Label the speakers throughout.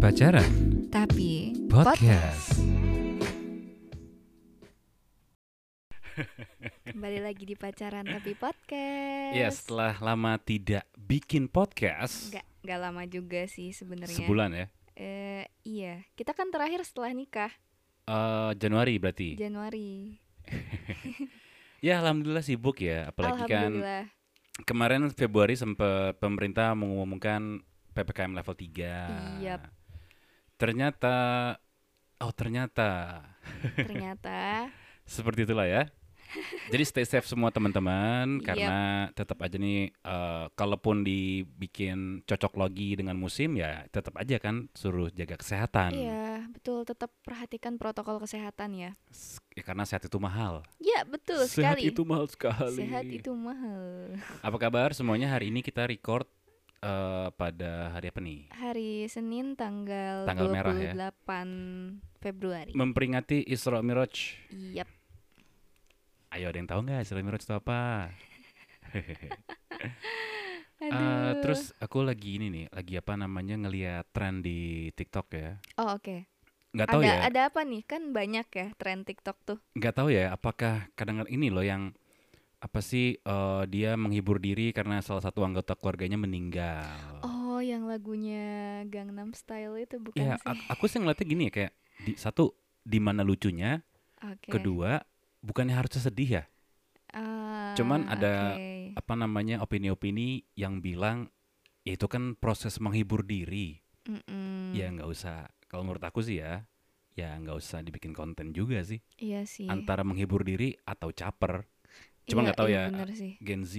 Speaker 1: Pacaran
Speaker 2: Tapi
Speaker 1: Podcast
Speaker 2: Kembali lagi di pacaran tapi podcast.
Speaker 1: Ya setelah lama tidak bikin podcast
Speaker 2: Nggak, nggak lama juga sih sebenarnya.
Speaker 1: Sebulan ya
Speaker 2: Eh, iya, kita kan terakhir setelah nikah
Speaker 1: Eh, Januari berarti
Speaker 2: Januari.
Speaker 1: Ya alhamdulillah sibuk ya Apalagi kan
Speaker 2: Alhamdulillah.
Speaker 1: kemarin Februari sempat pemerintah mengumumkan PPKM level 3
Speaker 2: Yap.
Speaker 1: Ternyata Oh ternyata
Speaker 2: Ternyata
Speaker 1: Seperti itulah ya. Jadi stay safe semua teman-teman
Speaker 2: Yep.
Speaker 1: karena tetap aja nih eh, kalaupun dibikin cocok logi dengan musim ya tetap aja kan suruh jaga kesehatan.
Speaker 2: iya, betul tetap perhatikan protokol kesehatan ya.
Speaker 1: S- ya, karena sehat itu mahal.
Speaker 2: Ya, betul
Speaker 1: sehat
Speaker 2: sekali.
Speaker 1: itu mahal sekali.
Speaker 2: Sehat itu mahal.
Speaker 1: Apa kabar semuanya? Hari ini kita record eh, pada hari apa nih?
Speaker 2: Hari Senin tanggal,
Speaker 1: Tanggal
Speaker 2: 28
Speaker 1: merah ya.
Speaker 2: Februari.
Speaker 1: Memperingati Isra Miraj.
Speaker 2: Yap.
Speaker 1: Ayo ada yang tahu nggak Isra Miraj itu apa? Eh,
Speaker 2: Aduh.
Speaker 1: terus aku lagi ini nih, lagi apa namanya ngeliat tren di TikTok ya.
Speaker 2: Oh, oke.
Speaker 1: Nggak tahu
Speaker 2: Ada
Speaker 1: ya.
Speaker 2: ada apa nih? Kan banyak ya tren TikTok tuh.
Speaker 1: nggak tahu ya apakah kadang ini loh yang apa sih eh, dia menghibur diri karena salah satu anggota keluarganya meninggal.
Speaker 2: Oh, yang lagunya Gangnam Style itu bukan
Speaker 1: ya
Speaker 2: sih?
Speaker 1: a- aku sih ngeliatnya gini ya kayak di, satu di mana lucunya,
Speaker 2: Oke.
Speaker 1: kedua bukannya harusnya sedih ya
Speaker 2: Ah,
Speaker 1: cuman ada-
Speaker 2: oke.
Speaker 1: apa namanya opini-opini yang bilang "Ya itu kan proses menghibur diri
Speaker 2: Mm-mm.
Speaker 1: ya nggak usah kalau menurut aku sih ya ya nggak usah dibikin konten juga sih
Speaker 2: Iya sih.
Speaker 1: antara menghibur diri atau caper cuma
Speaker 2: Iya,
Speaker 1: nggak tahu
Speaker 2: iya,
Speaker 1: ya.
Speaker 2: Bener sih.
Speaker 1: Gen Z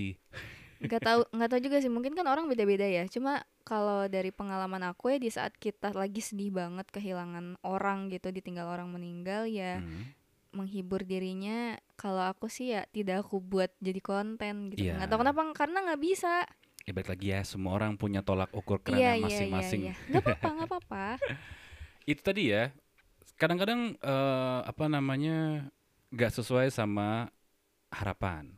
Speaker 2: Nggak tahu nggak tahu juga sih. Mungkin kan orang beda-beda ya. Cuma kalau dari pengalaman aku ya di saat kita lagi sedih banget kehilangan orang gitu, ditinggal orang meninggal ya
Speaker 1: Hmm.
Speaker 2: menghibur dirinya kalau aku sih ya tidak aku buat jadi konten gitu.
Speaker 1: Iya.
Speaker 2: Nggak tahu kenapa karena nggak bisa.
Speaker 1: ya balik lagi ya semua orang punya tolak ukur
Speaker 2: Iya,
Speaker 1: kerana
Speaker 2: iya,
Speaker 1: masing-masing
Speaker 2: iya, iya. Nggak apa-apa, nggak apa-apa.
Speaker 1: itu tadi ya kadang-kadang eh, apa namanya nggak sesuai sama harapan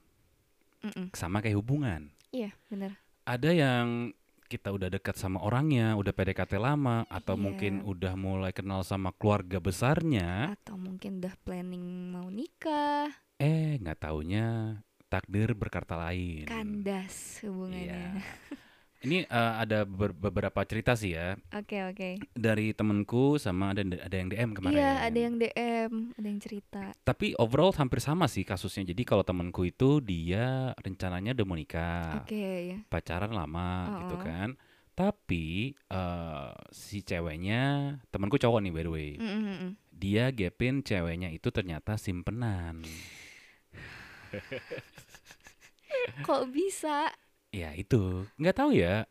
Speaker 2: Mm-mm.
Speaker 1: sama kayak hubungan
Speaker 2: Iya, bener.
Speaker 1: ada yang kita udah dekat sama orangnya udah PDKT lama atau
Speaker 2: Iya.
Speaker 1: mungkin udah mulai kenal sama keluarga besarnya
Speaker 2: atau mungkin udah planning mau nikah
Speaker 1: eh nggak taunya takdir berkata lain Iya.
Speaker 2: kandas hubungannya
Speaker 1: ini eh, ada ber- beberapa cerita sih ya
Speaker 2: oke oke
Speaker 1: dari temenku sama ada ada yang DM kemarin kan.
Speaker 2: iya ada yang dm ada yang cerita
Speaker 1: Tapi overall hampir sama sih kasusnya. Jadi kalau temanku itu dia rencananya udah mau nikah,
Speaker 2: oke
Speaker 1: iya.
Speaker 2: ya
Speaker 1: pacaran lama gitu
Speaker 2: Oh.
Speaker 1: kan. Tapi eh, si ceweknya, temanku cowok nih by the way.
Speaker 2: Mm, mm, mm.
Speaker 1: Dia gapin ceweknya itu ternyata simpenan.
Speaker 2: kok bisa
Speaker 1: Ya itu, nggak tahu ya.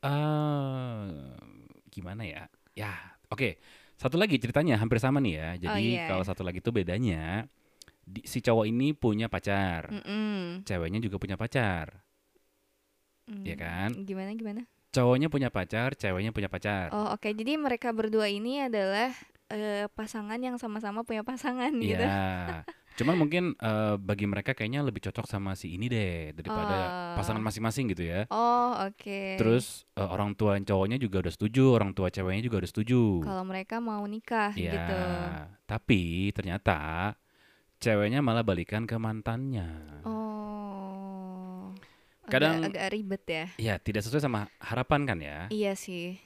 Speaker 1: eh gimana ya? Ya, oke. Satu lagi ceritanya hampir sama nih ya. Jadi
Speaker 2: iya,
Speaker 1: kalau
Speaker 2: iya.
Speaker 1: satu lagi itu bedanya di- si cowok ini punya pacar,
Speaker 2: Mm, mm.
Speaker 1: ceweknya juga punya pacar. Iya
Speaker 2: Mm.
Speaker 1: kan?
Speaker 2: gimana gimana
Speaker 1: cowoknya punya pacar, ceweknya punya pacar.
Speaker 2: oh oke jadi mereka berdua ini adalah eh, pasangan yang sama-sama punya pasangan gitu
Speaker 1: Iya. Cuman mungkin eh, bagi mereka kayaknya lebih cocok sama si ini deh daripada
Speaker 2: Oh.
Speaker 1: pasangan masing-masing gitu ya.
Speaker 2: oh oke
Speaker 1: Terus eh, orang tua cowoknya juga udah setuju, orang tua ceweknya juga udah setuju.
Speaker 2: kalau mereka mau nikah
Speaker 1: Iya.
Speaker 2: gitu
Speaker 1: Tapi ternyata ceweknya malah balikan ke mantannya.
Speaker 2: oh Agak-
Speaker 1: Kadang-
Speaker 2: agak ribet ya
Speaker 1: Ya, tidak sesuai sama harapan kan ya.
Speaker 2: iya sih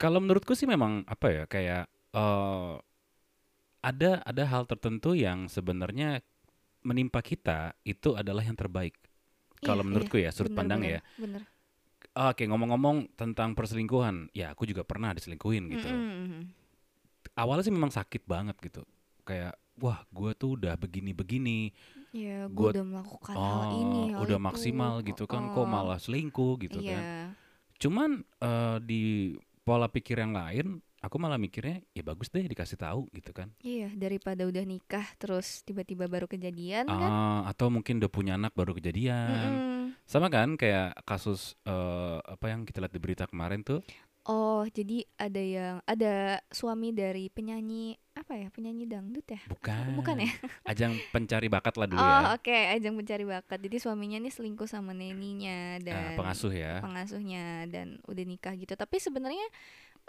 Speaker 1: Kalau menurutku sih memang apa ya kayak eh, ada ada hal tertentu yang sebenarnya menimpa kita itu adalah yang terbaik. Kalau
Speaker 2: Iya,
Speaker 1: menurutku ya sudut
Speaker 2: Bener,
Speaker 1: pandang
Speaker 2: bener,
Speaker 1: ya. Ah,
Speaker 2: bener
Speaker 1: Oke ngomong-ngomong tentang perselingkuhan, ya aku juga pernah diselingkuhin gitu.
Speaker 2: Mm, mm, mm.
Speaker 1: Awalnya sih memang sakit banget gitu, kayak wah gue tuh udah begini-begini,
Speaker 2: Ya, gue
Speaker 1: Gua-
Speaker 2: udah melakukan hal
Speaker 1: oh,
Speaker 2: ini, hal
Speaker 1: udah
Speaker 2: itu.
Speaker 1: maksimal gitu kan, kok
Speaker 2: Oh,
Speaker 1: malah selingkuh gitu
Speaker 2: iya.
Speaker 1: kan. Cuman eh, di pola pikir yang lain, aku malah mikirnya ya bagus deh dikasih tahu gitu kan.
Speaker 2: Iya, daripada udah nikah terus tiba-tiba baru kejadian kan.
Speaker 1: Ah, atau mungkin udah punya anak baru kejadian.
Speaker 2: Mm-mm.
Speaker 1: Sama kan kayak kasus eh, apa yang kita lihat di berita kemarin tuh.
Speaker 2: Oh, jadi ada yang ada suami dari penyanyi apa ya? Penyanyi dangdut ya?
Speaker 1: Bukan.
Speaker 2: Bukan ya?
Speaker 1: Ajang pencari bakat lah dulu
Speaker 2: oh,
Speaker 1: ya.
Speaker 2: oke, ajang mencari bakat. Jadi suaminya nih selingkuh sama neninya
Speaker 1: Eh,
Speaker 2: dan
Speaker 1: pengasuh ya.
Speaker 2: pengasuhnya dan udah nikah gitu. Tapi sebenarnya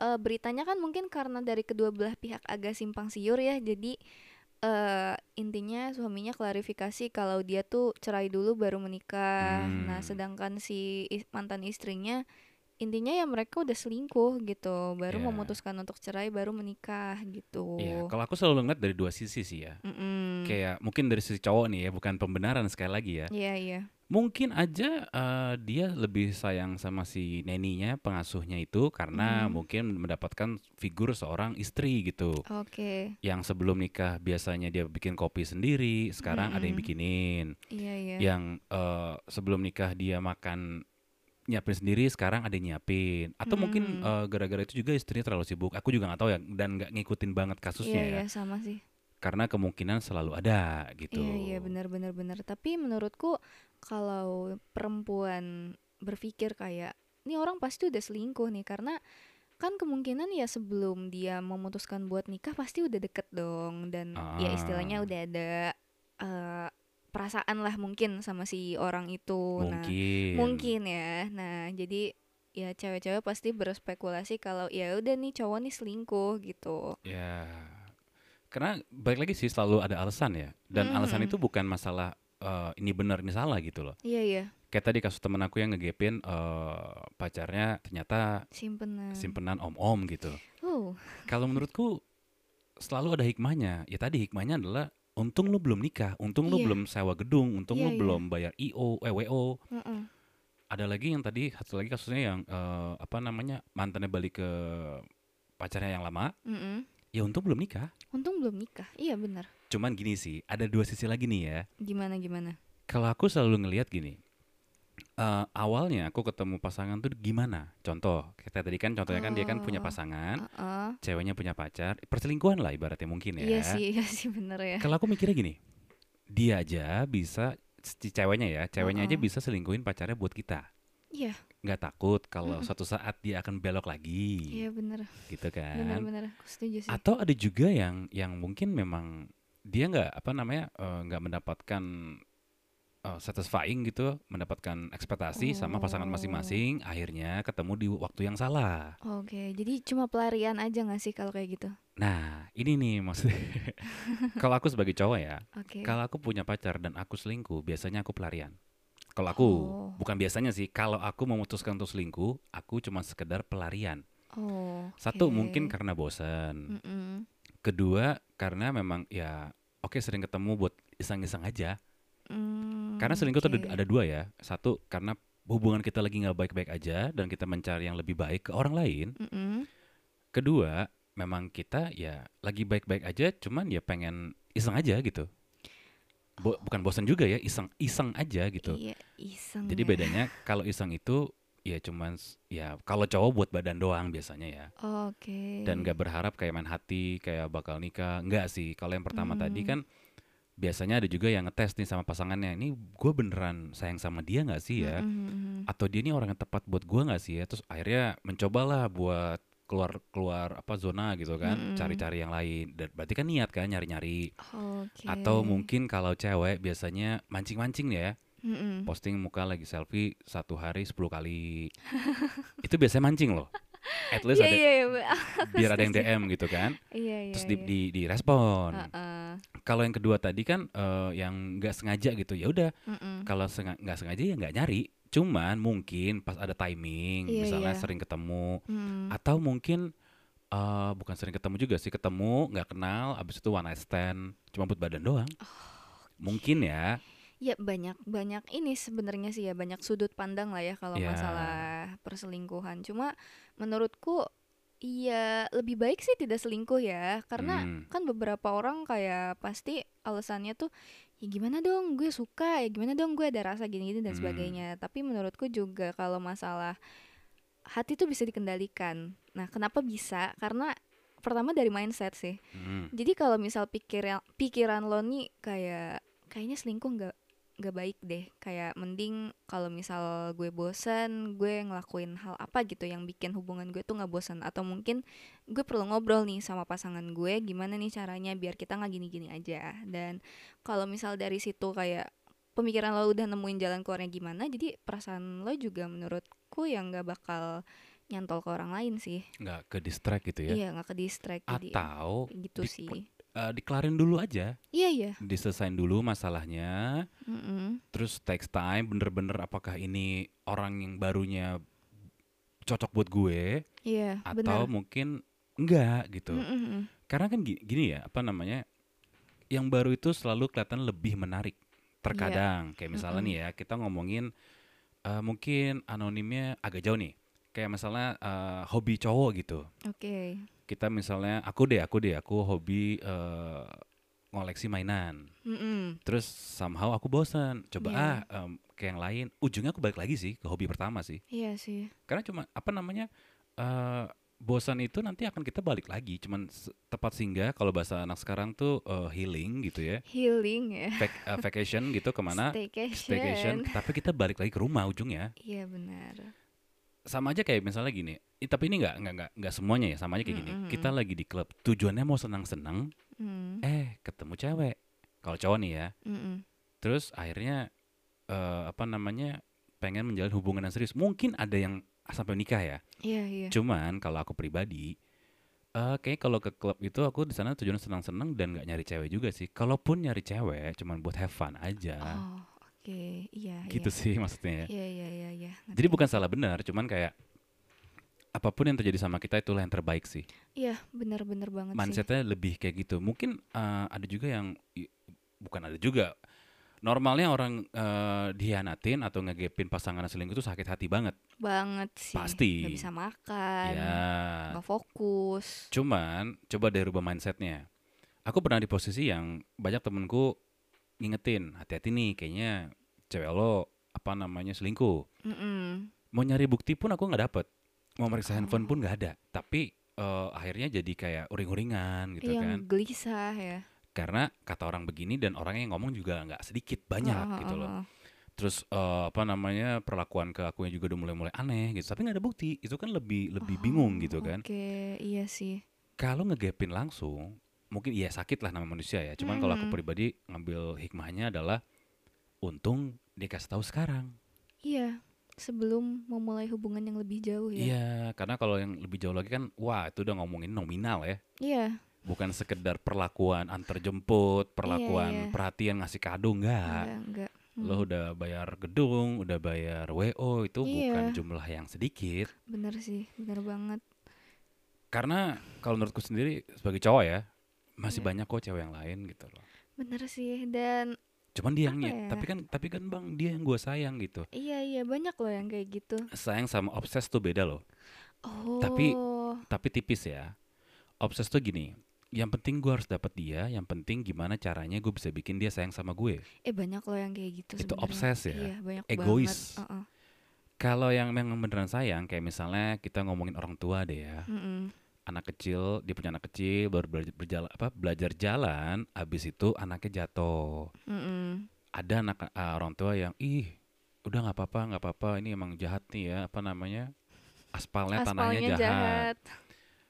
Speaker 2: eh, beritanya kan mungkin karena dari kedua belah pihak agak simpang siur ya jadi eh intinya suaminya klarifikasi kalau dia tuh cerai dulu baru menikah nah
Speaker 1: Hmm.
Speaker 2: sedangkan si is- mantan istrinya intinya ya mereka udah selingkuh gitu baru
Speaker 1: Ya.
Speaker 2: memutuskan untuk cerai baru menikah gitu
Speaker 1: Iya, kalau aku selalu ngeliat dari dua sisi sih ya.
Speaker 2: Mm-mm.
Speaker 1: Kayak mungkin dari sisi cowok nih ya, bukan pembenaran sekali lagi ya.
Speaker 2: Iya iya.
Speaker 1: Mungkin aja eh, dia lebih sayang sama si neninya, pengasuhnya itu karena
Speaker 2: Mhm.
Speaker 1: mungkin mendapatkan figur seorang istri gitu.
Speaker 2: Oke.
Speaker 1: Yang sebelum nikah biasanya dia bikin kopi sendiri, sekarang ada yang
Speaker 2: Mm-mm.
Speaker 1: bikinin.
Speaker 2: Iya iya.
Speaker 1: Yang eh, sebelum nikah dia makan nyiapin sendiri, sekarang ada yang nyiapin. Atau mungkin
Speaker 2: Mhm.
Speaker 1: eh, gara-gara itu juga istrinya terlalu sibuk. Aku juga nggak tahu ya dan nggak ngikutin banget
Speaker 2: Iya
Speaker 1: kasusnya ya.
Speaker 2: iya sama sih.
Speaker 1: Karena kemungkinan selalu ada gitu.
Speaker 2: Iya iya benar benar benar. Tapi menurutku kalau perempuan berpikir kayak ini orang pasti udah selingkuh nih karena kan kemungkinan ya sebelum dia memutuskan buat nikah pasti udah deket dong dan ya
Speaker 1: Ah.
Speaker 2: istilahnya udah ada eh, perasaan lah mungkin sama si orang itu. Nah,
Speaker 1: Mungkin.
Speaker 2: mungkin ya nah jadi ya cewek-cewek pasti berspekulasi kalau ya udah nih cowok nih selingkuh gitu
Speaker 1: Ya, karena balik lagi sih selalu ada alasan ya. Dan alasan
Speaker 2: Mm.
Speaker 1: itu bukan masalah eh, ini benar ini salah gitu loh.
Speaker 2: iya iya
Speaker 1: Kayak tadi kasus temen aku yang ngegepin eh, pacarnya ternyata
Speaker 2: simpenan
Speaker 1: simpenan om-om gitu.
Speaker 2: oh
Speaker 1: Kalau menurutku selalu ada hikmahnya. Ya tadi hikmahnya adalah untung lu belum nikah, untung lu
Speaker 2: Iya.
Speaker 1: belum sewa gedung, untung
Speaker 2: Iya,
Speaker 1: lu
Speaker 2: iya.
Speaker 1: belum bayar IO, eh WO.
Speaker 2: mm-mm.
Speaker 1: Ada lagi yang tadi satu lagi kasusnya yang eh, apa namanya mantannya balik ke pacarnya yang lama.
Speaker 2: Mm-mm.
Speaker 1: Ya untung belum nikah.
Speaker 2: untung belum nikah iya benar
Speaker 1: Cuman gini sih, ada dua sisi lagi nih ya.
Speaker 2: gimana gimana
Speaker 1: Kalau aku selalu ngelihat gini, eh, awalnya aku ketemu pasangan tuh gimana? Contoh, kita tadi kan contohnya kan dia kan punya
Speaker 2: Oh.
Speaker 1: pasangan,
Speaker 2: Heeh.
Speaker 1: ceweknya punya pacar, perselingkuhan lah ibaratnya mungkin ya.
Speaker 2: iya sih iya sih bener ya
Speaker 1: Kalau aku mikirnya gini, dia aja bisa si ceweknya ya, ceweknya aja
Speaker 2: Oh.
Speaker 1: bisa selingkuhin pacarnya buat kita.
Speaker 2: Iya.
Speaker 1: Nggak takut kalau
Speaker 2: Mm-mm.
Speaker 1: suatu saat dia akan belok lagi,
Speaker 2: iya bener
Speaker 1: gitu kan?
Speaker 2: bener bener aku setuju sih
Speaker 1: atau ada juga yang yang mungkin memang dia nggak apa namanya eh, nggak mendapatkan eh, satisfying gitu mendapatkan ekspektasi sama pasangan
Speaker 2: Oh.
Speaker 1: masing-masing akhirnya ketemu di waktu yang salah
Speaker 2: oke jadi cuma pelarian aja nggak sih kalau kayak gitu
Speaker 1: nah ini nih maksudnya kalau aku sebagai cowok ya
Speaker 2: oke
Speaker 1: kalau aku punya pacar dan aku selingkuh biasanya aku pelarian kalau aku
Speaker 2: Oh.
Speaker 1: bukan biasanya sih kalau aku memutuskan untuk selingkuh aku cuma sekedar pelarian
Speaker 2: oh
Speaker 1: satu
Speaker 2: oke. Mm.
Speaker 1: mungkin kan? karena bosan
Speaker 2: Mm-mm.
Speaker 1: Kedua, karena memang ya oke sering ketemu buat iseng-iseng aja.
Speaker 2: Mm,
Speaker 1: Karena selingkuh tuh
Speaker 2: oke.
Speaker 1: ada, ada dua ya. Satu karena hubungan kita lagi nggak baik-baik aja dan kita mencari yang lebih baik ke orang lain.
Speaker 2: Mm-mm.
Speaker 1: Kedua, memang kita ya lagi baik-baik aja, cuman ya pengen iseng aja gitu.
Speaker 2: Oh.
Speaker 1: Bo- bukan bosan juga ya, iseng-iseng aja gitu.
Speaker 2: Iya, iseng.
Speaker 1: Jadi
Speaker 2: ya.
Speaker 1: bedanya kalau iseng itu ya cuman s- ya kalau cowok buat badan doang biasanya ya.
Speaker 2: Oke.
Speaker 1: dan gak berharap kayak main hati kayak bakal nikah enggak sih kalau yang pertama tadi
Speaker 2: Hmm.
Speaker 1: kan biasanya ada juga yang ngetes nih sama pasangannya ini gue beneran sayang sama dia nggak sih ya
Speaker 2: Mm, mm, mm, mm.
Speaker 1: atau dia ini orang yang tepat buat gue nggak sih ya terus akhirnya mencobalah buat keluar keluar apa zona gitu kan
Speaker 2: Mm-mm.
Speaker 1: cari-cari yang lain dan berarti kan niat kan nyari-nyari
Speaker 2: Oke.
Speaker 1: atau mungkin kalau cewek biasanya mancing-mancing ya
Speaker 2: Mm-mm.
Speaker 1: posting muka lagi selfie satu hari 10 kali itu biasanya mancing loh at least
Speaker 2: Iya
Speaker 1: ada-
Speaker 2: iya iya. Bu. Ah,
Speaker 1: biar ada yang
Speaker 2: setuju.
Speaker 1: DM gitu kan
Speaker 2: Iya iya.
Speaker 1: terus di,
Speaker 2: iya.
Speaker 1: di direspon.
Speaker 2: Heeh.
Speaker 1: Kalau yang kedua tadi kan eh, yang nggak sengaja gitu ya udah
Speaker 2: Mm-mm.
Speaker 1: kalau senga- nggak sengaja ya nggak nyari. Cuman mungkin pas ada timing
Speaker 2: Iya,
Speaker 1: misalnya
Speaker 2: iya.
Speaker 1: sering ketemu
Speaker 2: Mm.
Speaker 1: atau mungkin eh, bukan sering ketemu juga sih ketemu nggak kenal abis itu one night stand cuma buat badan doang.
Speaker 2: Oh,
Speaker 1: Mungkin ya.
Speaker 2: Ya banyak banyak ini sebenarnya sih ya banyak sudut pandang lah ya kalau
Speaker 1: Ya.
Speaker 2: masalah perselingkuhan. Cuma menurutku Iya, lebih baik sih tidak selingkuh ya, karena
Speaker 1: Hmm.
Speaker 2: kan beberapa orang kayak pasti alasannya tuh ya gimana dong gue suka, ya gimana dong gue ada rasa gini-gini dan
Speaker 1: Hmm.
Speaker 2: sebagainya. Tapi menurutku juga kalau masalah hati tuh bisa dikendalikan. Nah, kenapa bisa? Karena pertama dari mindset sih.
Speaker 1: Hmm.
Speaker 2: Jadi kalau misal pikiran pikiran lo nih kayak kayaknya selingkuh nggak nggak baik deh. Kayak mending kalau misal gue bosen, gue ngelakuin hal apa gitu yang bikin hubungan gue tuh nggak bosen. Atau mungkin gue perlu ngobrol nih sama pasangan gue, gimana nih caranya biar kita nggak gini-gini aja. Dan kalau misal dari situ kayak pemikiran lo udah nemuin jalan keluarnya gimana, jadi perasaan lo juga menurutku yang nggak bakal nyantol ke orang lain sih
Speaker 1: nggak ke distract gitu ya
Speaker 2: iya nggak ke distract jadi
Speaker 1: atau
Speaker 2: gitu
Speaker 1: di-
Speaker 2: sih
Speaker 1: eh, dikelarin dulu aja
Speaker 2: iya iya
Speaker 1: diselesain dulu masalahnya
Speaker 2: Mm-mm.
Speaker 1: terus text time bener-bener apakah ini orang yang barunya cocok buat gue
Speaker 2: iya
Speaker 1: atau
Speaker 2: benar
Speaker 1: mungkin enggak gitu
Speaker 2: Mm-mm.
Speaker 1: karena kan gini, gini ya apa namanya yang baru itu selalu kelihatan lebih menarik terkadang kayak misalnya
Speaker 2: Mm-mm.
Speaker 1: nih ya kita ngomongin eh, mungkin anonimnya agak jauh nih kayak misalnya eh, hobi cowok gitu
Speaker 2: oke
Speaker 1: kita misalnya aku deh aku deh aku hobi eh, ngoleksi mainan
Speaker 2: Mm-mm.
Speaker 1: terus somehow aku bosan coba
Speaker 2: Iya.
Speaker 1: ah em, ke yang lain ujungnya aku balik lagi sih ke hobi pertama sih
Speaker 2: iya sih
Speaker 1: karena cuma apa namanya eh bosan itu nanti akan kita balik lagi cuman se- tepat singgah kalau bahasa anak sekarang tuh eh, healing gitu ya
Speaker 2: healing ya
Speaker 1: Vac- eh, vacation gitu kemana
Speaker 2: staycation,
Speaker 1: staycation tapi kita balik lagi ke rumah ujungnya
Speaker 2: iya benar
Speaker 1: sama aja kayak misalnya gini eh, tapi ini nggak nggak nggak nggak semuanya ya sama aja kayak gini
Speaker 2: Mm-mm.
Speaker 1: kita lagi di klub tujuannya mau senang senang
Speaker 2: Mm,
Speaker 1: eh ketemu cewek kalau cowok nih ya
Speaker 2: mm-mm.
Speaker 1: terus akhirnya eh, apa namanya pengen menjalin hubungan yang serius mungkin ada yang sampai nikah ya
Speaker 2: iya iya
Speaker 1: Cuman kalau aku pribadi, eh kayaknya kalau ke klub itu aku di sana tujuan senang-senang dan nggak nyari cewek juga sih. Kalaupun nyari cewek, cuman buat have fun aja.
Speaker 2: oh oke iya
Speaker 1: gitu sih maksudnya. ya.
Speaker 2: iya iya iya iya ngerti.
Speaker 1: Jadi bukan salah benar, cuman kayak apapun yang terjadi sama kita itulah yang terbaik sih.
Speaker 2: iya benar-benar banget sih
Speaker 1: Mindsetnya lebih kayak gitu. Mungkin eh, ada juga yang i- bukan ada juga. Normalnya orang eh, dihianatin atau ngegepin pasangan selingkuh itu sakit hati banget.
Speaker 2: banget sih
Speaker 1: Pasti.
Speaker 2: nggak bisa makan
Speaker 1: Ya,
Speaker 2: nggak fokus
Speaker 1: Cuman coba deh rubah mindsetnya. Aku pernah di posisi yang banyak temenku ngingetin, hati-hati nih kayaknya cewek lo apa namanya selingkuh.
Speaker 2: Mm-mm.
Speaker 1: Mau nyari bukti pun aku nggak dapet. Mau meriksa
Speaker 2: Oh.
Speaker 1: handphone pun nggak ada. Tapi eh, akhirnya jadi kayak uring-uringan gitu kan.
Speaker 2: yang Iya, gelisah ya
Speaker 1: Karena kata orang begini dan orang yang ngomong juga nggak sedikit banyak
Speaker 2: Heeh,
Speaker 1: gitu loh.
Speaker 2: heeh,
Speaker 1: Terus eh, apa namanya perlakuan ke akunya juga udah mulai-mulai aneh gitu. Tapi nggak ada bukti. Itu kan lebih lebih
Speaker 2: heeh.
Speaker 1: bingung gitu
Speaker 2: Oh,
Speaker 1: kan.
Speaker 2: oke iya sih
Speaker 1: kalau ngegapin langsung mungkin iya sakit lah nama manusia ya cuman kalau aku
Speaker 2: Mm.
Speaker 1: pribadi ngambil hikmahnya adalah untung dikasih tahu sekarang
Speaker 2: iya sebelum memulai hubungan yang lebih jauh ya
Speaker 1: iya karena kalau yang lebih jauh lagi kan wah itu udah ngomongin nominal ya
Speaker 2: iya
Speaker 1: bukan sekedar perlakuan antar jemput perlakuan
Speaker 2: iya.
Speaker 1: perhatian ngasih kado enggak
Speaker 2: enggak enggak Mm,
Speaker 1: lo udah bayar gedung udah bayar wo itu bukan
Speaker 2: Iya.
Speaker 1: jumlah yang sedikit
Speaker 2: bener sih bener banget
Speaker 1: karena kalau menurutku sendiri sebagai cowok ya masih
Speaker 2: Iya.
Speaker 1: banyak kok cewek yang lain gitu loh
Speaker 2: bener sih dan
Speaker 1: cuman dia yang
Speaker 2: Apa
Speaker 1: nyet.
Speaker 2: ya?
Speaker 1: tapi kan tapi kan bang dia yang gue sayang gitu
Speaker 2: iya iya banyak loh yang kayak gitu
Speaker 1: sayang sama obses tuh beda loh
Speaker 2: oh
Speaker 1: Tapi- tapi tipis ya obses tuh gini yang penting gue harus dapat dia yang penting gimana caranya gue bisa bikin dia sayang sama gue
Speaker 2: eh banyak loh yang kayak gitu
Speaker 1: itu
Speaker 2: sebenarnya.
Speaker 1: obses ya
Speaker 2: iya banyak
Speaker 1: egois.
Speaker 2: banget Heeh,
Speaker 1: kalau yang memang beneran sayang kayak misalnya kita ngomongin orang tua deh ya
Speaker 2: mm-mm.
Speaker 1: anak kecil dia punya anak kecil baru belajar berjala- apa belajar jalan abis itu anaknya jatuh
Speaker 2: Mm-mm.
Speaker 1: ada anak eh, orang tua yang ih udah nggak apa-apa nggak apa-apa ini emang jahat nih ya apa namanya aspalnya, tanahnya
Speaker 2: aspalnya
Speaker 1: jahat, gitu.
Speaker 2: jahat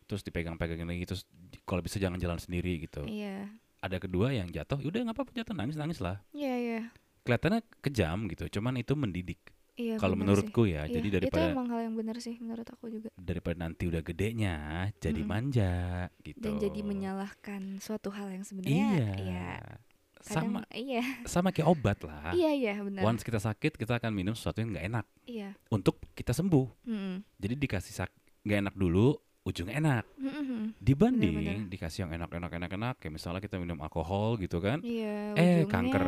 Speaker 1: terus dipegang-pegangin lagi terus di- kalau bisa jangan jalan sendiri gitu
Speaker 2: iya
Speaker 1: ada kedua yang jatuh "Ya udah nggak apa-apa jatuh nangis nangis lah
Speaker 2: iya iya
Speaker 1: kelihatannya kejam gitu cuman itu mendidik
Speaker 2: iya
Speaker 1: kalau
Speaker 2: bener sih.
Speaker 1: menurutku ya
Speaker 2: Iya,
Speaker 1: jadi
Speaker 2: itu
Speaker 1: daripada
Speaker 2: emang hal yang benar sih menurut aku juga
Speaker 1: daripada nanti udah gedenya jadi
Speaker 2: Mm-mm.
Speaker 1: manja gitu
Speaker 2: dan jadi menyalahkan suatu hal yang sebenarnya
Speaker 1: iya
Speaker 2: ya
Speaker 1: sama
Speaker 2: kadang- iya
Speaker 1: sama kayak obat lah
Speaker 2: iya iya benar
Speaker 1: once kita sakit kita akan minum sesuatu yang nggak enak
Speaker 2: iya
Speaker 1: untuk kita sembuh
Speaker 2: Mm-mm.
Speaker 1: Jadi dikasih sak- nggak enak dulu, ujungnya enak.
Speaker 2: Mm-mm.
Speaker 1: Dibanding
Speaker 2: Benar-benar.
Speaker 1: dikasih yang enak-enak enak-enak kayak misalnya kita minum alkohol gitu kan.
Speaker 2: iya
Speaker 1: Eh,
Speaker 2: ujungnya-
Speaker 1: kanker,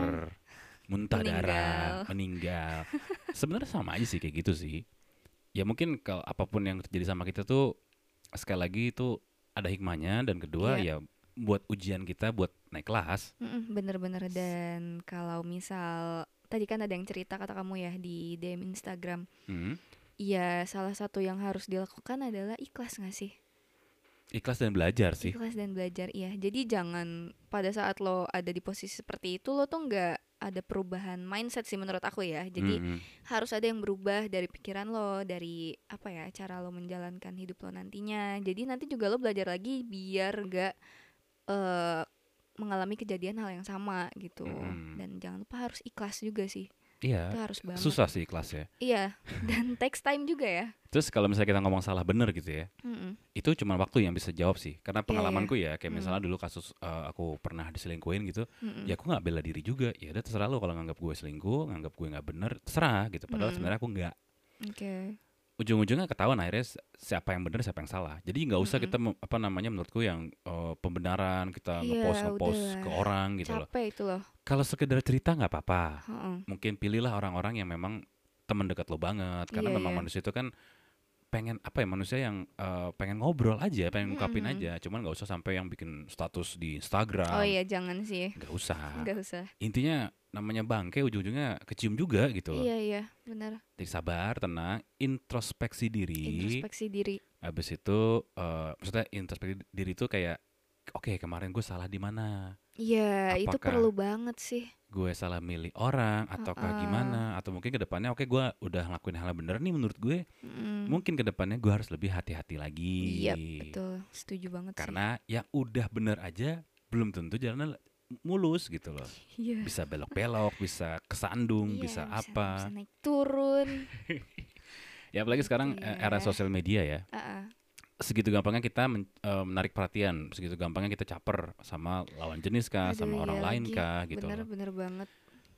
Speaker 1: muntah darah,
Speaker 2: meninggal.
Speaker 1: meninggal. Sebenarnya sama aja sih kayak gitu sih. Ya mungkin kalau apapun yang terjadi sama kita tuh sekali lagi itu ada hikmahnya dan kedua
Speaker 2: Iya.
Speaker 1: ya buat ujian kita buat naik kelas.
Speaker 2: Mm-mm, bener-bener dan kalau misal tadi kan ada yang cerita kata kamu ya di DM Instagram
Speaker 1: Hmm.
Speaker 2: Iya, salah satu yang harus dilakukan adalah ikhlas nggak sih?
Speaker 1: Ikhlas dan belajar sih.
Speaker 2: Ikhlas dan belajar, iya. Jadi jangan pada saat lo ada di posisi seperti itu lo tuh nggak ada perubahan mindset sih menurut aku ya. Jadi
Speaker 1: Mm-mm.
Speaker 2: harus ada yang berubah dari pikiran lo, dari apa ya cara lo menjalankan hidup lo nantinya. Jadi nanti juga lo belajar lagi biar nggak eh, mengalami kejadian hal yang sama gitu.
Speaker 1: Mm-mm.
Speaker 2: Dan jangan lupa harus ikhlas juga sih. Itu
Speaker 1: Iya,
Speaker 2: harus banget.
Speaker 1: susah sih kelasnya.
Speaker 2: Iya, dan takes time juga ya.
Speaker 1: Terus kalau misalnya kita ngomong salah bener gitu ya,
Speaker 2: Mm-mm.
Speaker 1: itu cuma waktu yang bisa jawab sih. Karena
Speaker 2: iya.
Speaker 1: pengalamanku ya, kayak
Speaker 2: Mm.
Speaker 1: misalnya dulu kasus eh, aku pernah diselingkuhin gitu,
Speaker 2: Mm-mm.
Speaker 1: ya aku nggak bela diri juga. Ya udah terserah lo kalau nganggap gue selingkuh, nganggap gue nggak bener, terserah gitu. Padahal
Speaker 2: Mm.
Speaker 1: sebenarnya aku nggak.
Speaker 2: Oke.
Speaker 1: Ujung-ujungnya ketahuan akhirnya si- siapa yang bener, siapa yang salah. Jadi nggak usah
Speaker 2: Mm-mm.
Speaker 1: kita mem- apa namanya menurutku yang eh, pembenaran kita
Speaker 2: Hmm. Iya,
Speaker 1: ngepost ngepost
Speaker 2: udahlah.
Speaker 1: ke orang gitu loh.
Speaker 2: Capek itu loh.
Speaker 1: Kalau sekedar cerita nggak apa-apa.
Speaker 2: Heeh.
Speaker 1: mungkin pilihlah orang-orang yang memang teman dekat lo banget karena
Speaker 2: Iya,
Speaker 1: memang
Speaker 2: iya.
Speaker 1: manusia itu kan pengen apa ya manusia yang eh, pengen ngobrol aja pengen ngungkapin
Speaker 2: Mm-mm.
Speaker 1: aja cuman nggak usah sampai yang bikin status di Instagram
Speaker 2: Oh
Speaker 1: nggak
Speaker 2: iya, jangan sih.
Speaker 1: usah
Speaker 2: Enggak usah.
Speaker 1: intinya namanya bangke ujung-ujungnya kecium juga gitu loh
Speaker 2: Iya, iya, benar.
Speaker 1: jadi sabar tenang introspeksi diri
Speaker 2: Introspeksi diri.
Speaker 1: habis itu eh, maksudnya introspeksi diri itu kayak oke kemarin gue salah di mana
Speaker 2: Iya, itu
Speaker 1: Apakah-
Speaker 2: perlu banget sih.
Speaker 1: gue salah milih orang ataukah
Speaker 2: Uh-uh.
Speaker 1: gimana atau mungkin kedepannya oke gua gue udah ngelakuin hal yang bener nih menurut gue
Speaker 2: Mm.
Speaker 1: mungkin kedepannya gue harus lebih hati-hati lagi
Speaker 2: Iya, betul. Setuju banget sih.
Speaker 1: karena yang udah bener aja belum tentu jalannya le- mulus gitu loh
Speaker 2: Iya.
Speaker 1: bisa belok-belok bisa kesandung
Speaker 2: Iya,
Speaker 1: bisa apa
Speaker 2: Bisa naik turun.
Speaker 1: ya apalagi sekarang
Speaker 2: Gitu
Speaker 1: eh,
Speaker 2: ya.
Speaker 1: era sosial media ya
Speaker 2: Ah, ah.
Speaker 1: segitu gampangnya kita men- eh, menarik perhatian segitu gampangnya kita caper sama lawan jenis kah
Speaker 2: Aduh,
Speaker 1: sama orang
Speaker 2: iya
Speaker 1: lain
Speaker 2: lagi.
Speaker 1: kah gitu loh.
Speaker 2: Bener-bener banget.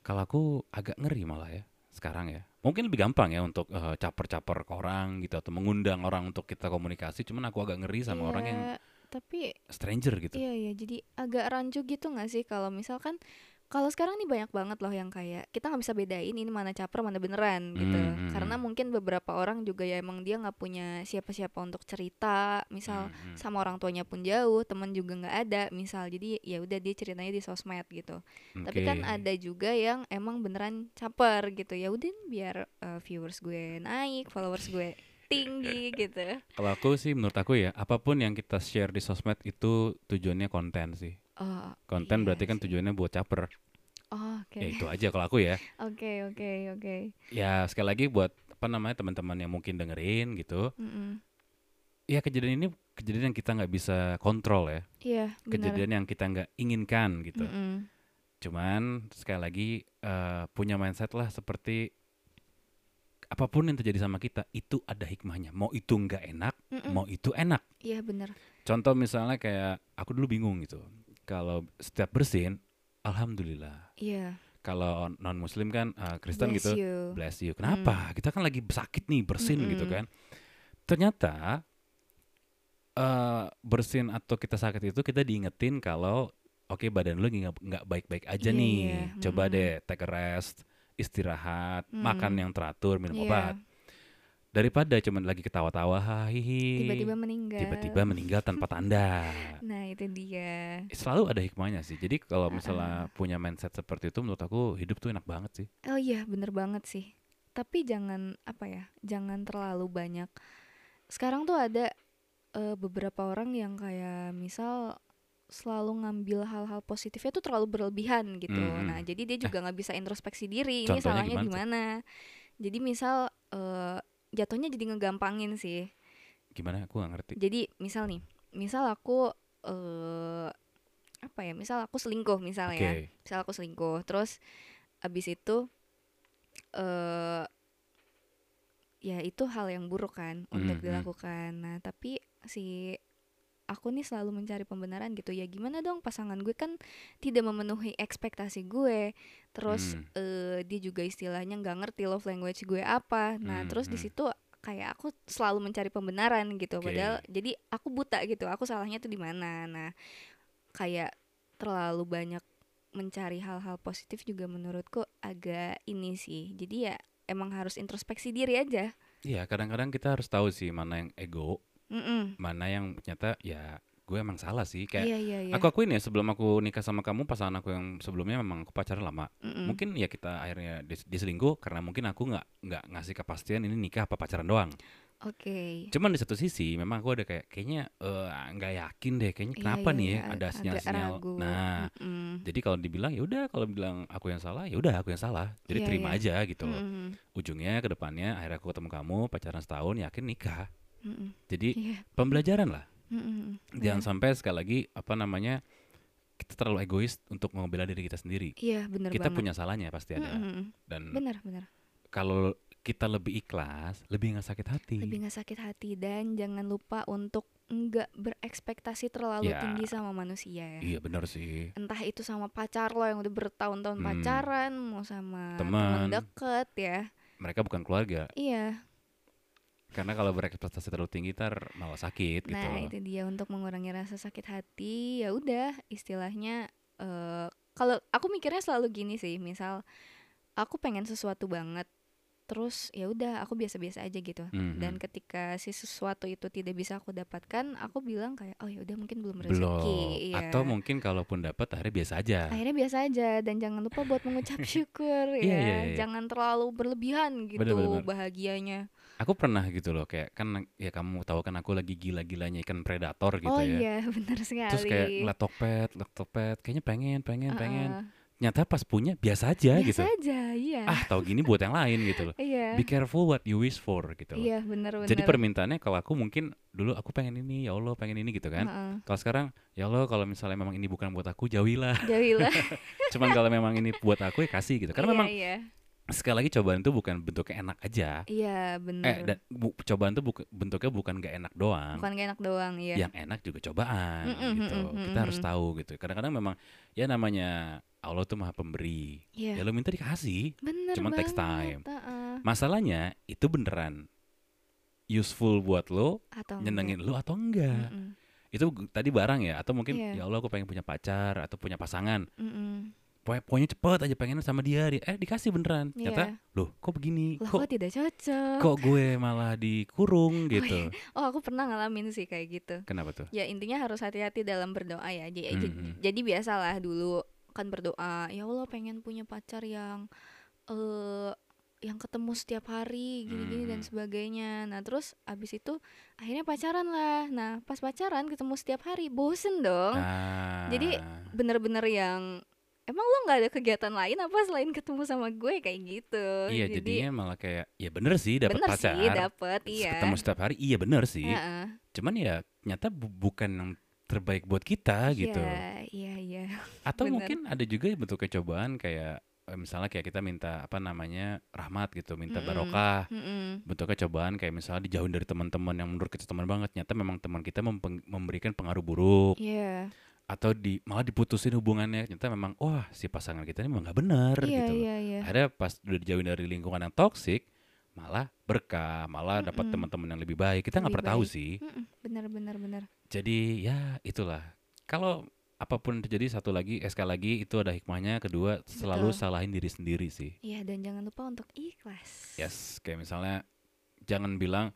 Speaker 1: kalau aku agak ngeri malah ya sekarang ya mungkin lebih gampang ya untuk eh, caper-caper ke orang gitu atau mengundang orang untuk kita komunikasi cuman aku agak ngeri sama orang yang
Speaker 2: Iya, tapi
Speaker 1: stranger gitu
Speaker 2: Iya iya jadi agak rancu gitu nggak sih kalau misalkan kalau sekarang nih banyak banget loh yang kayak kita nggak bisa bedain ini mana caper mana beneran gitu
Speaker 1: Hmm, hmm,
Speaker 2: karena
Speaker 1: hmm.
Speaker 2: mungkin beberapa orang juga ya emang dia nggak punya siapa-siapa untuk cerita misal
Speaker 1: Mm, mm.
Speaker 2: sama orang tuanya pun jauh teman juga nggak ada misal jadi ya udah dia ceritanya di sosmed gitu tapi kan
Speaker 1: hmm, Oke.
Speaker 2: ada juga yang emang beneran caper gitu ya udah nih biar eh, viewers gue naik followers gue tinggi gitu
Speaker 1: Kalau aku sih menurut aku ya apapun yang kita share di sosmed itu tujuannya konten sih.
Speaker 2: oh
Speaker 1: Konten
Speaker 2: iya
Speaker 1: berarti kan
Speaker 2: sih.
Speaker 1: tujuannya buat caper.
Speaker 2: oh,
Speaker 1: Ya
Speaker 2: oke
Speaker 1: itu aja kalau aku ya.
Speaker 2: oke oke oke
Speaker 1: Ya sekali lagi buat apa namanya teman-teman yang mungkin dengerin gitu.
Speaker 2: Mm-mm.
Speaker 1: Ya kejadian ini kejadian yang kita nggak bisa kontrol ya.
Speaker 2: Iya, benar. Hmm.
Speaker 1: Kejadian yang kita nggak inginkan gitu.
Speaker 2: Mm-mm.
Speaker 1: Cuman sekali lagi eh, punya mindset lah seperti apapun yang terjadi sama kita itu ada hikmahnya. Mau itu nggak enak,
Speaker 2: Mm-mm.
Speaker 1: mau itu enak.
Speaker 2: Iya, benar.
Speaker 1: Contoh misalnya kayak aku dulu bingung gitu. Kalau setiap bersin, alhamdulillah.
Speaker 2: Iya.
Speaker 1: Kalau non muslim kan eh, Kristen
Speaker 2: bless
Speaker 1: gitu,
Speaker 2: you. Hmm.
Speaker 1: bless you. Kenapa? Kita kan lagi sakit nih bersin gitu kan.
Speaker 2: Mm-mm.
Speaker 1: Ternyata eh bersin atau kita sakit itu kita diingetin kalau oke badan lu lagi nggak- nggak baik-baik aja
Speaker 2: Iya,
Speaker 1: nih.
Speaker 2: iya.
Speaker 1: Coba
Speaker 2: Mm-mm.
Speaker 1: deh take a rest, istirahat, makan
Speaker 2: Mm.
Speaker 1: yang teratur, minum
Speaker 2: Iya.
Speaker 1: obat. Daripada cuman lagi ketawa-tawa, hahihi.
Speaker 2: Tiba-tiba meninggal.
Speaker 1: tiba-tiba meninggal tanpa tanda.
Speaker 2: Nah, itu dia.
Speaker 1: selalu ada hikmahnya sih. Jadi kalau misalnya punya mindset seperti itu menurut aku hidup tuh enak banget sih.
Speaker 2: Oh iya, bener banget sih. Tapi jangan apa ya? Jangan terlalu banyak. Sekarang tuh ada eh, beberapa orang yang kayak misal selalu ngambil hal-hal positifnya tuh terlalu berlebihan gitu.
Speaker 1: Mm-mm.
Speaker 2: Nah, jadi dia juga nggak bisa introspeksi diri.
Speaker 1: Hmm, Eh.
Speaker 2: Ini
Speaker 1: contohnya
Speaker 2: salahnya
Speaker 1: gimana
Speaker 2: di
Speaker 1: tuh?
Speaker 2: mana? Jadi misal eh, jatuhnya jadi ngegampangin sih.
Speaker 1: Gimana aku nggak ngerti.
Speaker 2: Jadi misal nih, misal aku eh apa ya? Misal aku selingkuh
Speaker 1: Oke.
Speaker 2: misalnya. ya. Misal aku selingkuh, terus abis itu eh ya itu hal yang buruk kan
Speaker 1: Mm,
Speaker 2: untuk
Speaker 1: mm.
Speaker 2: dilakukan. Nah, tapi si aku nih selalu mencari pembenaran gitu. Ya gimana dong pasangan gue kan tidak memenuhi ekspektasi gue. Terus
Speaker 1: Hmm.
Speaker 2: eh, dia juga istilahnya nggak ngerti love language gue apa. Nah,
Speaker 1: Hmm,
Speaker 2: terus di
Speaker 1: hmm.
Speaker 2: situ kayak aku selalu mencari pembenaran gitu.
Speaker 1: Oke.
Speaker 2: Padahal jadi aku buta gitu. Aku salahnya tuh di mana. Nah, kayak terlalu banyak mencari hal-hal positif juga menurutku agak ini sih. Jadi ya emang harus introspeksi diri aja.
Speaker 1: Iya kadang-kadang kita harus tahu sih mana yang ego,
Speaker 2: Mm-mm.
Speaker 1: mana yang nyata ya gue emang salah sih. Kayak
Speaker 2: Iya iya iya.
Speaker 1: aku akuin ya sebelum aku nikah sama kamu pasangan aku yang sebelumnya memang aku pacaran lama.
Speaker 2: Mm-mm.
Speaker 1: Mungkin ya kita akhirnya dis- diselingkuh karena mungkin aku nggak nggak ngasih kepastian ini nikah apa pacaran doang.
Speaker 2: Iya. Oke. Iya,
Speaker 1: Cuman di satu sisi memang aku ada kayak kayaknya eh, nggak yakin deh kayaknya
Speaker 2: Iya,
Speaker 1: kenapa
Speaker 2: iya,
Speaker 1: nih ya
Speaker 2: iya,
Speaker 1: ada
Speaker 2: agak
Speaker 1: sinyal-sinyal.
Speaker 2: ragu.
Speaker 1: Nah,
Speaker 2: Mm-mm.
Speaker 1: Jadi kalau dibilang ya udah kalau bilang aku yang salah ya udah aku yang salah. Jadi
Speaker 2: Iya,
Speaker 1: terima
Speaker 2: iya.
Speaker 1: aja gitu. loh.
Speaker 2: Mm-mm.
Speaker 1: Ujungnya ke depannya akhirnya aku ketemu kamu pacaran setahun yakin nikah.
Speaker 2: Mm-mm.
Speaker 1: Jadi
Speaker 2: Iya.
Speaker 1: pembelajaran lah.
Speaker 2: Mm-mm.
Speaker 1: Jangan sampai sekali lagi apa namanya kita terlalu egois untuk membela diri kita sendiri.
Speaker 2: Iya bener
Speaker 1: kita
Speaker 2: banget.
Speaker 1: punya salahnya pasti ada. Mm.
Speaker 2: Mm-mm.
Speaker 1: Dan
Speaker 2: Bener bener.
Speaker 1: kalau kita lebih ikhlas, lebih nggak sakit hati.
Speaker 2: Lebih nggak sakit hati dan jangan lupa untuk nggak berekspektasi terlalu
Speaker 1: Ya.
Speaker 2: tinggi sama manusia. ya.
Speaker 1: Iya benar sih.
Speaker 2: Entah itu sama pacar lo yang udah bertahun-tahun
Speaker 1: Hmm.
Speaker 2: pacaran, mau sama
Speaker 1: Teman.
Speaker 2: teman deket ya.
Speaker 1: Mereka bukan keluarga.
Speaker 2: Iya.
Speaker 1: Karena kalau berekspektasi terlalu tinggi tar malah sakit gitu.
Speaker 2: Nah, itu dia untuk mengurangi rasa sakit hati. Ya udah, istilahnya eh, kalau aku mikirnya selalu gini sih, misal aku pengen sesuatu banget, terus ya udah aku biasa-biasa aja gitu.
Speaker 1: Mhm.
Speaker 2: Dan ketika si sesuatu itu tidak bisa aku dapatkan, aku bilang kayak oh ya udah mungkin belum rezeki.
Speaker 1: belum.
Speaker 2: Iya.
Speaker 1: Atau mungkin kalaupun dapat akhirnya biasa aja.
Speaker 2: akhirnya biasa aja dan jangan lupa buat mengucap syukur ya.
Speaker 1: Iya, iya, iya.
Speaker 2: Jangan terlalu berlebihan gitu
Speaker 1: Bener, bener, bener.
Speaker 2: bahagianya.
Speaker 1: Aku pernah gitu loh kayak kan ya kamu tahu kan aku lagi gila-gilanya ikan predator gitu
Speaker 2: oh
Speaker 1: ya.
Speaker 2: iya, benar sekali.
Speaker 1: Terus kayak ngeliat Tokped, ngeliat Tokped, kayaknya pengen, pengen, pengen.
Speaker 2: Uh-uh.
Speaker 1: Nyata pas punya biasa aja
Speaker 2: biasa
Speaker 1: gitu.
Speaker 2: aja, iya.
Speaker 1: Ah, tahu gini buat yang lain gitu loh.
Speaker 2: Iya.
Speaker 1: Be careful what you wish for gitu loh.
Speaker 2: Iya benar-benar.
Speaker 1: Jadi permintaannya kalau aku mungkin dulu aku pengen ini, ya Allah pengen ini gitu kan. Kalau sekarang ya Allah kalau misalnya memang ini bukan buat aku jauhilah.
Speaker 2: Jauhilah.
Speaker 1: Cuman kalau memang ini buat aku ya kasih gitu. Karena
Speaker 2: Iya,
Speaker 1: memang
Speaker 2: iya.
Speaker 1: sekali lagi cobaan itu bukan bentuknya enak aja.
Speaker 2: Iya, benar.
Speaker 1: Eh, dan bu- cobaan itu buka- bentuknya bukan gak enak doang.
Speaker 2: Bukan gak enak doang, iya.
Speaker 1: Yang enak juga cobaan
Speaker 2: Mm-mm,
Speaker 1: gitu.
Speaker 2: mm-mm,
Speaker 1: Kita
Speaker 2: mm-mm.
Speaker 1: harus tahu gitu. Kadang-kadang memang ya namanya Allah tuh maha pemberi. Ya
Speaker 2: Iya.
Speaker 1: lo minta dikasih.
Speaker 2: Bener
Speaker 1: cuman
Speaker 2: banget.
Speaker 1: takes time.
Speaker 2: heeh.
Speaker 1: Masalahnya itu beneran useful buat lo,
Speaker 2: Atau
Speaker 1: nyenengin lo atau
Speaker 2: enggak.
Speaker 1: enggak.
Speaker 2: Mm-mm,
Speaker 1: Itu gu- tadi barang ya atau mungkin
Speaker 2: Iya.
Speaker 1: ya Allah aku pengen punya pacar atau punya pasangan.
Speaker 2: mm-mm.
Speaker 1: Pokoknya- Pokoknya cepet aja pengen sama dia. di- Eh dikasih beneran.
Speaker 2: Iya.
Speaker 1: Ternyata loh kok begini?
Speaker 2: Loh,
Speaker 1: kok
Speaker 2: kok tidak cocok?
Speaker 1: kok gue malah dikurung gitu.
Speaker 2: Oh, aku pernah ngalamin sih kayak gitu.
Speaker 1: Kenapa tuh?
Speaker 2: Ya intinya harus hati-hati dalam berdoa ya. Jadi,
Speaker 1: Mm-mm.
Speaker 2: jadi biasalah dulu kan berdoa, ya Allah pengen punya pacar yang eh yang ketemu setiap hari gini-gini dan
Speaker 1: Mm.
Speaker 2: sebagainya. Nah, terus abis itu akhirnya pacaran lah. Nah, pas pacaran ketemu setiap hari bosen dong.
Speaker 1: Ah.
Speaker 2: Oh, Jadi, bener-bener yang emang lo nggak ada kegiatan lain apa selain ketemu sama gue kayak gitu.
Speaker 1: Iya jadinya malah kayak ya bener sih dapat
Speaker 2: bener
Speaker 1: pacar.
Speaker 2: sih dapet iya.
Speaker 1: Ketemu setiap hari iya bener sih.
Speaker 2: Heeh.
Speaker 1: Cuman ya nyata bu- bukan yang terbaik buat kita gitu.
Speaker 2: Iya, iya, iya.
Speaker 1: Atau
Speaker 2: bener.
Speaker 1: mungkin ada juga bentuk kecobaan kayak eh, misalnya kayak kita minta apa namanya rahmat gitu, minta
Speaker 2: Mm-mm.
Speaker 1: barokah.
Speaker 2: Mm-mm.
Speaker 1: Bentuk kecobaan kayak misalnya dijauhin dari teman-teman yang menurut kita teman banget, nyata memang teman kita mempeng- memberikan pengaruh buruk
Speaker 2: Iya.
Speaker 1: atau di malah diputusin hubungannya, nyata memang wah si pasangan kita ini memang nggak bener
Speaker 2: Iya,
Speaker 1: gitu.
Speaker 2: iya, iya.
Speaker 1: Akhirnya pas udah dijauhin dari lingkungan yang toksik, malah berkah, malah dapat
Speaker 2: Mm-mm.
Speaker 1: teman-teman yang lebih baik. Kita nggak
Speaker 2: Lebih
Speaker 1: pernah tahu
Speaker 2: baik.
Speaker 1: sih.
Speaker 2: Mm-mm, Benar, benar, benar.
Speaker 1: Jadi ya itulah. Kalau apapun yang terjadi satu lagi, eh, sekali lagi itu ada hikmahnya. Kedua, selalu
Speaker 2: Betul.
Speaker 1: salahin diri sendiri sih.
Speaker 2: Iya, dan jangan lupa untuk ikhlas.
Speaker 1: Yes, kayak misalnya jangan bilang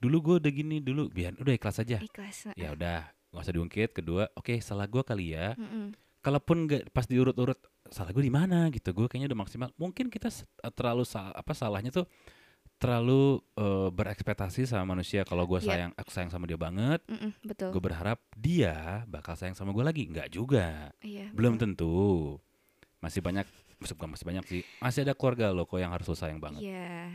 Speaker 1: dulu gue udah gini dulu, biar udah ikhlas aja.
Speaker 2: Ikhlas. eh,
Speaker 1: Ya udah, nggak usah diungkit. Kedua, oke salah gue kali ya.
Speaker 2: Mm-mm.
Speaker 1: Kalaupun nggak pas diurut-urut salah gue di mana gitu, gue kayaknya udah maksimal. Mungkin kita s- e, terlalu sa- apa salahnya tuh terlalu eh, berekspektasi sama manusia. Kalau gue
Speaker 2: Yap.
Speaker 1: sayang, aku sayang sama dia banget.
Speaker 2: Mm-mm, betul.
Speaker 1: Gue berharap dia bakal sayang sama gue lagi. Nggak juga.
Speaker 2: Iya.
Speaker 1: Belum
Speaker 2: betul.
Speaker 1: tentu. Masih banyak, maksud gua masih banyak sih. Masih ada keluarga lo kok yang harus lo sayang banget.
Speaker 2: Iya.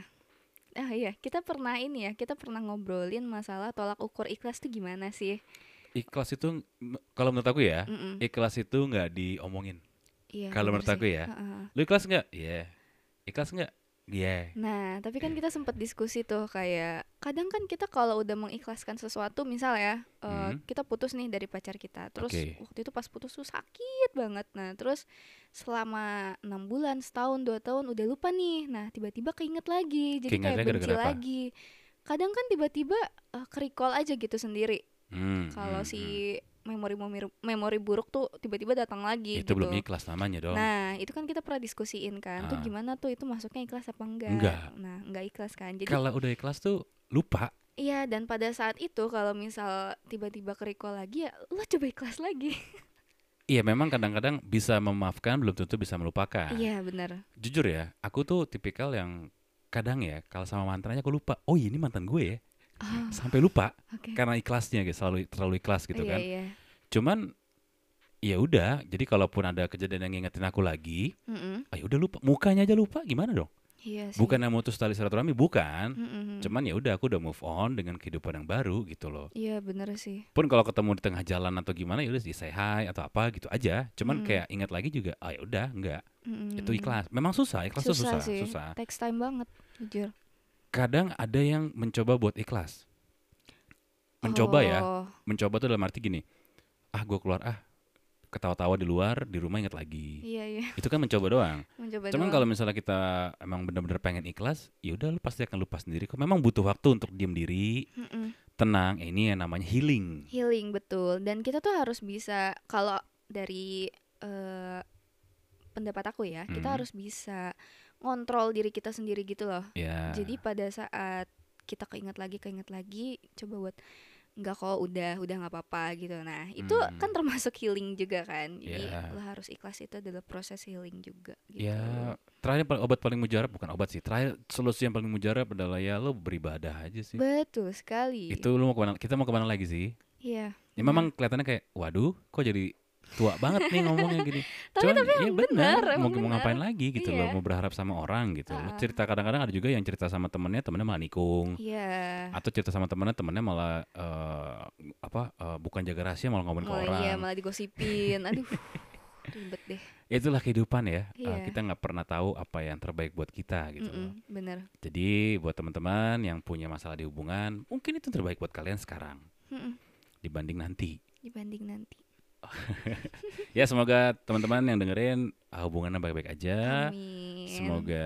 Speaker 2: Ah iya, kita pernah ini ya, kita pernah ngobrolin masalah tolak ukur ikhlas tuh gimana sih?
Speaker 1: Iya. Ikhlas itu, m- kalau menurut aku ya,
Speaker 2: Mm-mm.
Speaker 1: ikhlas itu nggak diomongin.
Speaker 2: Iya.
Speaker 1: kalau
Speaker 2: benar
Speaker 1: menurut aku
Speaker 2: sih.
Speaker 1: ya.
Speaker 2: Heeh.
Speaker 1: Lo ikhlas nggak? Iya. Ikhlas nggak? Iya.
Speaker 2: Nah, tapi kan kita sempat diskusi tuh kayak kadang kan kita kalau udah mengikhlaskan sesuatu, misal ya, eh,
Speaker 1: Hmm.
Speaker 2: kita putus nih dari pacar kita, terus
Speaker 1: Oke.
Speaker 2: waktu itu pas putus tuh sakit banget. Nah, terus selama enam bulan, setahun, dua tahun udah lupa nih. Nah, tiba-tiba keinget lagi, jadi
Speaker 1: Keingetnya
Speaker 2: kayak benci
Speaker 1: gara-gara apa?
Speaker 2: lagi. Kadang kan tiba-tiba eh, ke-recall aja gitu sendiri.
Speaker 1: Hmm, hmm,
Speaker 2: Kalau si memori memori memori buruk tuh tiba-tiba datang
Speaker 1: hmm. itu
Speaker 2: lagi gitu.
Speaker 1: belum ikhlas namanya dong.
Speaker 2: Nah, itu kan kita pernah diskusiin kan.
Speaker 1: Ah.
Speaker 2: Tuh gimana tuh itu masuknya ikhlas apa enggak?
Speaker 1: Enggak.
Speaker 2: Nah, enggak ikhlas kan. Jadi
Speaker 1: kalau udah ikhlas tuh lupa.
Speaker 2: iya dan pada saat itu kalau misal tiba-tiba keriko lagi ya lo coba ikhlas lagi.
Speaker 1: Iya memang kadang-kadang bisa memaafkan belum tentu bisa melupakan.
Speaker 2: Iya, benar.
Speaker 1: Jujur ya, aku tuh tipikal yang kadang ya kalau sama mantannya aku lupa. Oh iya, ini mantan gue ya.
Speaker 2: Oh,
Speaker 1: Sampai lupa
Speaker 2: oke.
Speaker 1: karena ikhlasnya gitu, selalu terlalu ikhlas gitu
Speaker 2: iya,
Speaker 1: kan.
Speaker 2: Iya,
Speaker 1: Cuman ya udah, jadi kalaupun ada kejadian yang ngingetin aku lagi,
Speaker 2: Mm-mm.
Speaker 1: ayo udah lupa. Mukanya aja lupa, gimana dong?
Speaker 2: iya. Iya sih.
Speaker 1: Bukan yang mutus tali silaturahmi, bukan.
Speaker 2: Mm, mm, mm.
Speaker 1: Cuman ya udah aku udah move on dengan kehidupan yang baru gitu loh.
Speaker 2: Iya bener sih.
Speaker 1: Pun kalau ketemu di tengah jalan atau gimana ya udah sih say hi atau apa gitu aja. Cuman
Speaker 2: Mm.
Speaker 1: kayak ingat lagi juga, ah ya udah enggak.
Speaker 2: Mm, mm,
Speaker 1: Itu
Speaker 2: mm.
Speaker 1: ikhlas. Memang susah, ikhlas tuh susah,
Speaker 2: Susah sih.
Speaker 1: susah.
Speaker 2: Text time banget, jujur.
Speaker 1: Kadang ada yang mencoba buat ikhlas. Mencoba ya,
Speaker 2: Oh,
Speaker 1: mencoba tuh dalam arti gini. Ah, gua keluar ah ketawa-tawa di luar, di rumah ingat lagi.
Speaker 2: Iya iya.
Speaker 1: Itu kan mencoba doang.
Speaker 2: Mencoba.
Speaker 1: Cuman
Speaker 2: doang.
Speaker 1: kalau misalnya kita emang benar-benar pengen ikhlas, ya udah lu pasti akan lupa sendiri kok. Memang butuh waktu untuk diam diri,
Speaker 2: Mm, mm.
Speaker 1: tenang. Eh, Ini yang namanya healing.
Speaker 2: healing betul. Dan kita tuh harus bisa kalau dari eh, pendapat aku ya, kita
Speaker 1: Hmm.
Speaker 2: harus bisa ngontrol diri kita sendiri gitu loh.
Speaker 1: Ya.
Speaker 2: Jadi pada saat kita keinget lagi, keinget lagi, coba buat nggak kok udah udah nggak apa-apa gitu nah itu
Speaker 1: Hmm.
Speaker 2: kan termasuk healing juga kan jadi
Speaker 1: Ya.
Speaker 2: lo harus ikhlas itu adalah proses healing juga gitu
Speaker 1: ya terakhir paling- obat paling mujarab bukan obat sih. Terakhir solusi yang paling mujarab adalah ya lo beribadah aja sih.
Speaker 2: betul sekali
Speaker 1: Itu lu mau kemana? Kita mau kemana lagi sih?
Speaker 2: Iya.
Speaker 1: Ya memang kelihatannya kayak waduh, kok jadi tua banget nih ngomongnya gini.
Speaker 2: Tapi-
Speaker 1: Cuman, ya
Speaker 2: emang
Speaker 1: benar,
Speaker 2: bener,
Speaker 1: mau,
Speaker 2: emang
Speaker 1: mau
Speaker 2: bener.
Speaker 1: ngapain lagi gitu
Speaker 2: Iya.
Speaker 1: loh, mau berharap sama orang gitu. Lu
Speaker 2: Ah.
Speaker 1: Cerita kadang-kadang ada juga yang cerita sama temennya, temennya malah nikung.
Speaker 2: Iya.
Speaker 1: atau cerita sama temennya temennya malah eh, apa eh, bukan jaga rahasia malah ngomongin ke
Speaker 2: Malah
Speaker 1: orang
Speaker 2: iya malah digosipin. Aduh. Ribet deh.
Speaker 1: itulah kehidupan ya Eh,
Speaker 2: Iya.
Speaker 1: kita nggak pernah tahu apa yang terbaik buat kita gitu loh.
Speaker 2: Mm-mm, bener.
Speaker 1: jadi buat teman-teman yang punya masalah di hubungan mungkin itu yang terbaik buat kalian sekarang
Speaker 2: Mm-mm,
Speaker 1: dibanding nanti
Speaker 2: dibanding nanti.
Speaker 1: ya semoga teman-teman yang dengerin ah, hubungannya baik-baik aja
Speaker 2: Amin.
Speaker 1: Ya, semoga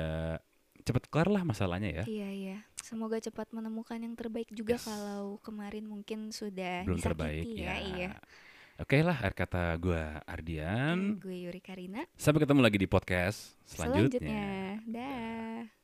Speaker 1: cepet kelar lah masalahnya ya
Speaker 2: Iya iya. Semoga cepat menemukan yang terbaik juga
Speaker 1: Yes.
Speaker 2: kalau kemarin mungkin sudah
Speaker 1: belum
Speaker 2: disakiti
Speaker 1: terbaik
Speaker 2: ya. Iya.
Speaker 1: oke lah akhir kata gue Ardian
Speaker 2: Gue Yuri Karina.
Speaker 1: sampai ketemu lagi di podcast selanjutnya.
Speaker 2: Selanjutnya. Dah.